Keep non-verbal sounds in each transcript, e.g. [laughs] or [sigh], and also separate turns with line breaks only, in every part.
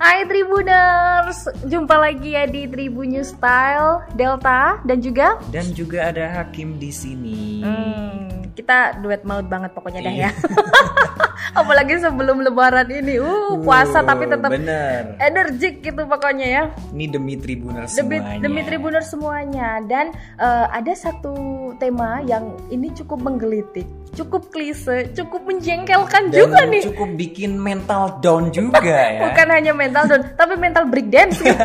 Hai Tribuners, jumpa lagi ya di Tribun New Style Delta dan juga
Dan juga ada Hakim di sini.
Hmm, kita duet maut banget pokoknya dah
Iya.
ya. [laughs] Apalagi sebelum lebaran ini. Uh, puasa
Uh,
tapi tetap
Bener.
energik gitu pokoknya ya.
Ini demi tribuner
Demi
semuanya.
demi Tribuner semuanya dan eh, ada satu tema yang ini cukup menggelitik, cukup klise, cukup menjengkelkan
Dan ya.
juga nih.
Cukup bikin mental down
[laughs]
juga ya.
Bukan hanya mental down, tapi mental breakdance gitu.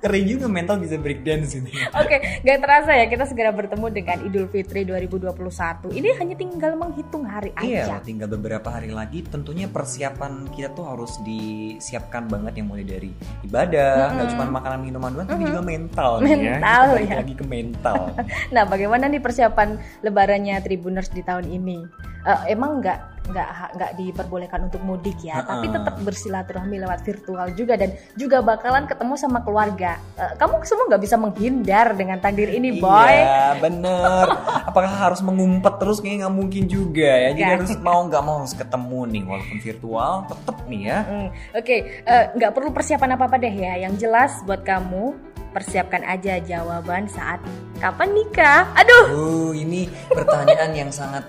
Keren juga mental bisa breakdance ini.
Oke, gak terasa ya kita segera bertemu dengan Idul Fitri 2021. Ini hanya tinggal menghitung hari aja.
Iya, tinggal beberapa hari lagi. Tentunya persiapan kita tuh harus disiapkan banget yang mulai dari ibadah, nggak cuma makanan minuman doang, tapi juga mental. nih ya. Kita
Mental,
balik
ya.
Lagi ke mental.
[laughs] Nah, bagaimana nih persiapan Lebarannya Tribuners di tahun ini? Eh, emang nggak nggak ha- nggak diperbolehkan untuk mudik ya,
Ha-ha.
tapi tetap bersilaturahmi lewat virtual juga dan juga bakalan ketemu sama keluarga. Eh, kamu semua nggak bisa menghindar dengan takdir ini, boy.
Iya, bener. Apakah harus mengumpet terus kayaknya nggak mungkin juga ya. Jadi
Nggak.
harus mau nggak mau harus ketemu nih, walaupun virtual, tetep nih ya.
Hmm, Oke, eh, nggak perlu persiapan apa apa deh ya. Yang jelas buat kamu persiapkan aja jawaban saat kapan nikah. Aduh.
Uh, ini pertanyaan yang sangat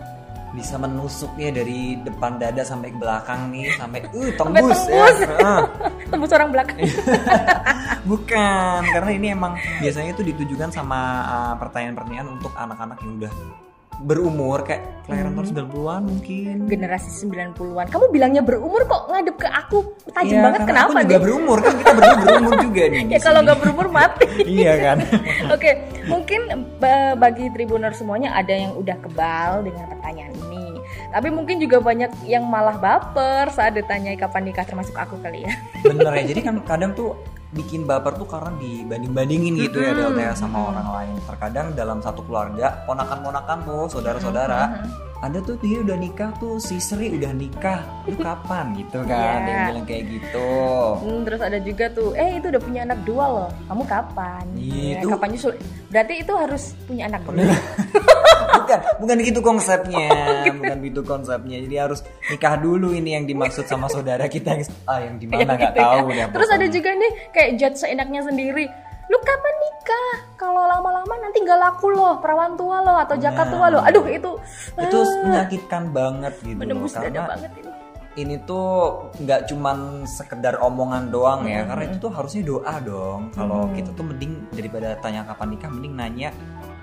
bisa menusuk ya dari depan dada sampai ke belakang nih sampai uh tembus,
tembus.
ya. Heeh.
tembus orang belakang.
bukan karena ini emang biasanya itu ditujukan sama uh, pertanyaan-pertanyaan untuk anak-anak yang udah berumur kayak
Hmm.
kelahiran tahun 90-an mungkin.
Generasi 90-an. Kamu bilangnya berumur kok ngadep ke aku tajam
Iya,
banget
karena
kenapa
aku juga
nih?
berumur kan kita berdua berumur juga nih.
[laughs]
di
Ya kalau
sini.
nggak berumur
[laughs]
mati.
iya kan.
Oke, mungkin ba- bagi tribuner semuanya ada yang udah kebal dengan pertanyaan ini. Tapi mungkin juga banyak yang malah baper saat ditanyai kapan nikah termasuk aku kali ya.
Bener ya. Jadi kan kadang tuh bikin baper tuh karena dibanding-bandingin gitu ya Del ya, sama orang lain. Terkadang dalam satu keluarga, ponakan-ponakan tuh, saudara-saudara, ada tuh dia udah nikah tuh, si Sri udah nikah. Lu kapan gitu kan? Ada yang
Iya.
bilang kayak gitu.
Hmm, terus ada juga tuh, eh itu udah punya anak dua loh. Kamu kapan?
Iya,
Ya,
itu-
kapan nyusul? Berarti itu harus punya anak dulu.
bukan bukan gitu konsepnya
Oh,
bukan gitu konsepnya jadi harus nikah dulu ini yang dimaksud sama saudara kita yang ah yang di mana nggak
gitu ya.
tahu deh
Terus ada
pokoknya.
juga nih kayak judge seenaknya sendiri. Lu kapan nikah? Kalau lama-lama nanti nggak laku loh, perawan tua loh atau jaka tua loh. Aduh itu ah,
itu menyakitkan banget gitu loh,
menembus dada
karena
banget ini.
ini tuh nggak cuman sekedar omongan doang
Mm-hmm.
ya karena itu tuh harusnya doa dong kalau kita tuh mending daripada tanya kapan nikah mending nanya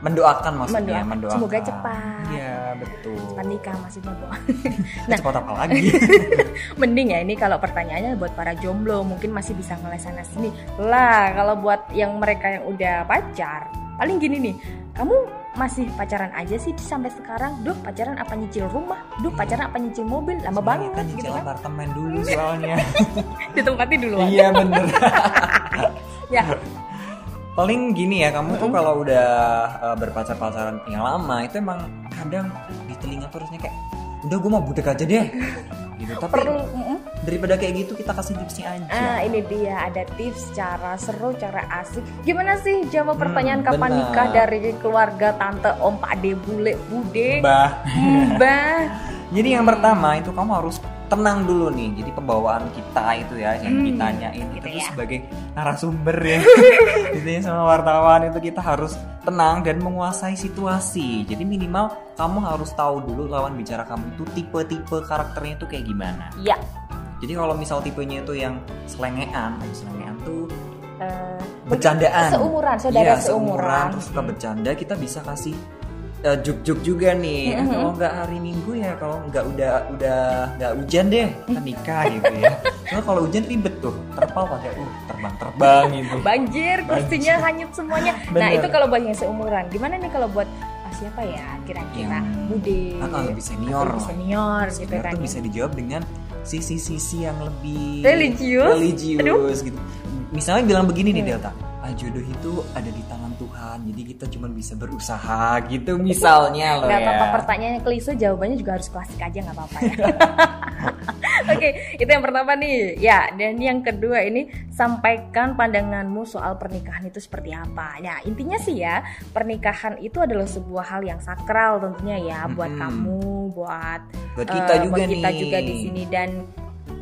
mendoakan maksudnya
Mendoakan.
mendoakan,
Semoga cepat.
iya betul
Kapan nikah Nah, maksudnya Bo?
cepat apa lagi
[laughs] Mending ya ini kalau pertanyaannya buat para jomblo mungkin masih bisa ngeles sana sini. Lah kalau buat yang mereka yang udah pacar paling gini nih, kamu masih pacaran aja sih sampai sekarang? Duh pacaran apa nyicil rumah? Duh pacaran apa nyicil mobil? Lama
Sebenarnya kan
banget gitu
nyicil
kan?
apartemen
[laughs]
dulu soalnya
Ditempatin dulu
iya bener
[laughs] Ya, Mm-hmm.
paling gini ya kamu tuh kalau udah uh, berpacar-pacaran yang lama itu emang kadang di telinga tuh harusnya kayak udah gue mau budek aja deh gitu tapi
perlu. mm-mm.
daripada kayak gitu kita kasih tipsnya aja
Ah, ini dia ada tips cara seru, cara asik. Gimana sih jawab pertanyaan kapan
Hmm, benar.
nikah dari keluarga tante, om, pak, ade, bule, bude,
bah
mbah.
jadi yang pertama itu kamu harus tenang dulu nih jadi pembawaan kita itu ya yang ditanyain
gitu
kita tuh
ya.
sebagai narasumber
[laughs]
ya Ditanya sama wartawan itu kita harus tenang dan menguasai situasi jadi minimal kamu harus tahu dulu lawan bicara kamu itu tipe-tipe karakternya itu kayak gimana
Ya,
Jadi kalau misal tipenya itu yang selengean, eh, selengean tuh
eh,
bercandaan.
seumuran, saudara
Iya,
seumuran.
Terus suka bercanda, kita bisa kasih eh, juk-juk juga nih.
Mm-hmm.
Eh, Kalau nggak hari Minggu ya, kalau nggak udah udah nggak hujan deh, kita nikah gitu ya.
[laughs]
Cuma kalau hujan ribet tuh, terpal pakai uh terbang-terbang gitu.
banjir, kursinya hanyut semuanya. Nah,
Benar.
itu kalau buat yang seumuran. Gimana nih kalau buat ah, siapa ya kira-kira?
Yang-
Bude.
Ah, ah, lebih senior
Lebih
lah.
senior gitu
Sebenarnya
kan.
tuh bisa dijawab dengan sisi-sisi yang lebih
Religius? Hmm.
religius
Aduh.
gitu. Misalnya bilang begini nih Delta, ah, jodoh itu ada di tangan Tuhan, jadi kita cuma bisa berusaha gitu misalnya loh
Gak apa-apa
ya.
pertanyaannya klise jawabannya juga harus klasik aja nggak apa-apa ya. Oke itu yang pertama nih ya dan yang kedua ini sampaikan pandanganmu soal pernikahan itu seperti apa. Nah intinya sih ya pernikahan itu adalah sebuah hal yang sakral tentunya ya buat
Mm-mm.
kamu buat
Buat kita
eh,
juga
buat kita
nih.
juga di sini dan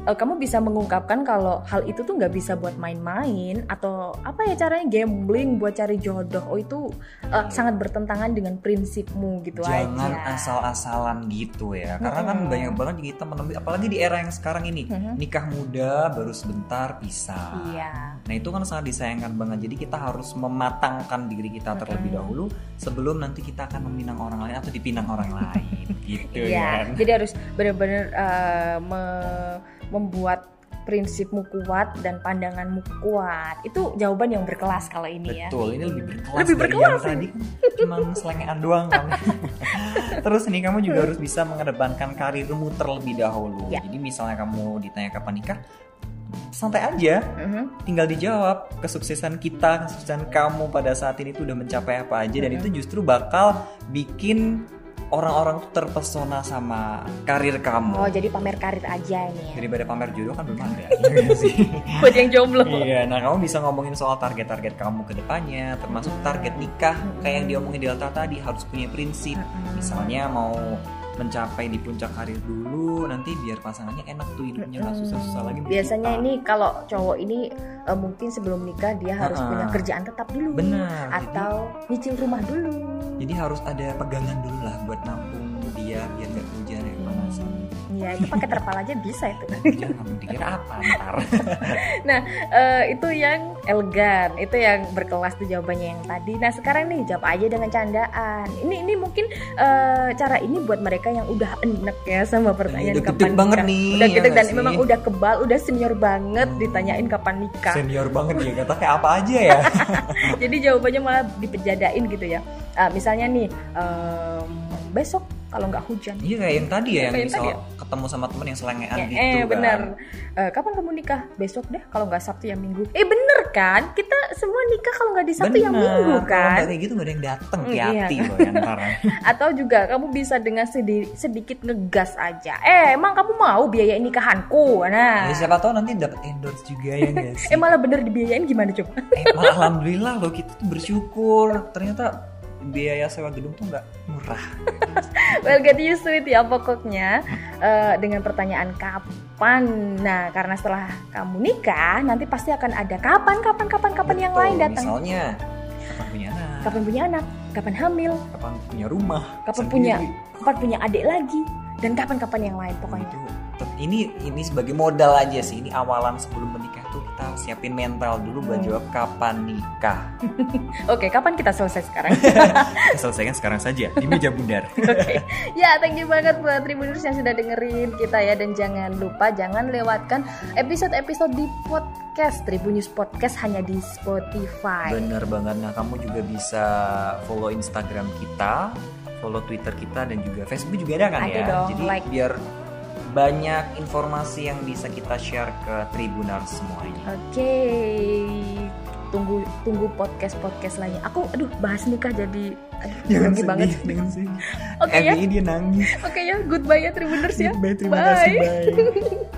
eh, kamu bisa mengungkapkan kalau hal itu tuh nggak bisa buat main-main atau apa ya caranya gambling buat cari jodoh oh itu eh, sangat bertentangan dengan prinsipmu gitu
Iya. jangan
aja
asal-asalan gitu ya karena kan
Mm-mm.
banyak banget kita menemui apalagi di era yang sekarang ini
Mhm.
nikah muda baru sebentar pisah
iya
nah itu kan sangat disayangkan banget jadi kita harus mematangkan diri kita terlebih
Mm-mm.
dahulu sebelum nanti kita akan meminang orang lain atau dipinang orang
[laughs]
lain gitu
iya
kan
jadi harus benar-benar eh, me- membuat prinsipmu kuat dan pandanganmu kuat itu jawaban yang berkelas kalau ini ya
Betul, ini lebih berkelas
Lebih
dari
berkelas
yang tadi kan cuma selengean doang kan. [laughs] Terus nih kamu juga harus bisa mengedepankan karirmu terlebih dahulu.
Ya.
Jadi misalnya kamu ditanya kapan nikah, santai aja,
Mhm.
tinggal dijawab kesuksesan kita, kesuksesan kamu pada saat ini tuh udah mencapai apa aja dan
Mhm.
itu justru bakal bikin orang-orang tuh terpesona sama
oh
karir kamu.
jadi pamer karir aja ini ya
Daripada pamer jodoh kan belum
[laughs]
ada. Iya nggak sih?
buat yang jomblo
Iya, nah kamu bisa ngomongin soal target-target kamu ke depannya, termasuk target nikah kayak yang diomongin Delta tadi harus punya prinsip.
Mhm.
Misalnya mau mencapai di puncak karir dulu, nanti biar pasangannya enak tuh hidupnya nggak susah-susah lagi. Ah. sama
Biasanya
kita.
ini kalau cowok ini eh, mungkin sebelum nikah dia harus
Ha-ha.
punya kerjaan tetap dulu.
Ah, benar. Jadi,
Atau nyicil rumah dulu.
jadi harus ada pegangan dulu lah buat nampung dia biar nggak hujan ya panasan.
[laughs] Ya itu pakai terpal aja bisa itu.
Hujan kamu "Ah, dikira apa ntar?
Eh, itu yang elegan, itu yang berkelas tuh jawabannya yang tadi. Nah sekarang nih jawab aja dengan candaan. Ini ini mungkin eh, cara ini buat mereka yang udah enek ya sama pertanyaan
udah
kapan
gede banget
nikah.
nih.
Udah
ya
gede
nggak
dan
sih?
memang udah kebal, udah senior banget
Hmm.
ditanyain kapan nikah.
senior banget ya kata kayak apa aja
[laughs]
ya.
Jadi jawabannya malah dipejadain gitu ya. Ah, misalnya nih em, besok kalau nggak hujan.
Iya kayak yang tadi ya yang
Kayak yang
misal
tadi ya?
ketemu sama temen yang selengean
Ya,
gitu
eh
kan.
benar. Eh, kapan kamu nikah? Besok deh kalau nggak Sabtu ya Minggu. Eh bener kan? Kita semua nikah kalau nggak di Sabtu ya
Benar,
Minggu
kalau
kan?
nggak kayak gitu gak ada yang dateng
Mm,
ke
iya.
hati loh ya ntar.
Atau juga kamu bisa dengan sedi- sedikit ngegas aja. Eh emang kamu mau biayain nikahanku? [laughs] Nah.
Ya, siapa tahu nanti dapat endorse juga ya nggak
[laughs]
sih?
Eh malah bener dibiayain gimana coba?
Eh, malah alhamdulillah loh kita tuh bersyukur ternyata biaya sewa gedung tuh nggak murah.
Well get used to it ya pokoknya Eh, dengan pertanyaan kapan. Nah karena setelah kamu nikah nanti pasti akan ada kapan kapan kapan kapan yang
Betul,
lain datang.
gitu. Misalnya kapan punya anak,
Kapan punya anak? Kapan hamil?
kapan punya rumah,
Kapan
sendiri.
punya- Kapan punya adik lagi? Dan kapan-kapan yang lain pokoknya.
Itu Gitu. tet- ini ini sebagai modal aja sih. Ini awalan sebelum menikah tuh kita siapin mental dulu buat
Hmm.
jawab kapan nikah.
Oke kapan kita selesai
[laughs]
sekarang?
Selesaikan sekarang saja di meja
[laughs]
bundar.
Oke. Ya, thank you banget buat Tribuners yang sudah dengerin kita ya dan jangan lupa jangan lewatkan episode-episode di podcast Tribunnews Podcast hanya di Spotify.
Bener banget. Nah, kamu juga bisa follow Instagram kita, follow Twitter kita, dan juga Facebook juga ada kan
Ada
ya.
dong,
Jadi
like.
biar banyak informasi yang bisa kita share ke Tribuners semuanya.
Oke. Tunggu tunggu podcast-podcast lainnya. Aku aduh bahas nikah jadi aduh grogi banget.
jangan sedih.
Oke ya.
dia nangis.
Oke ya, goodbye ya Tribuners ya.
Bye,
terima kasih, Bye. [laughs]
bye.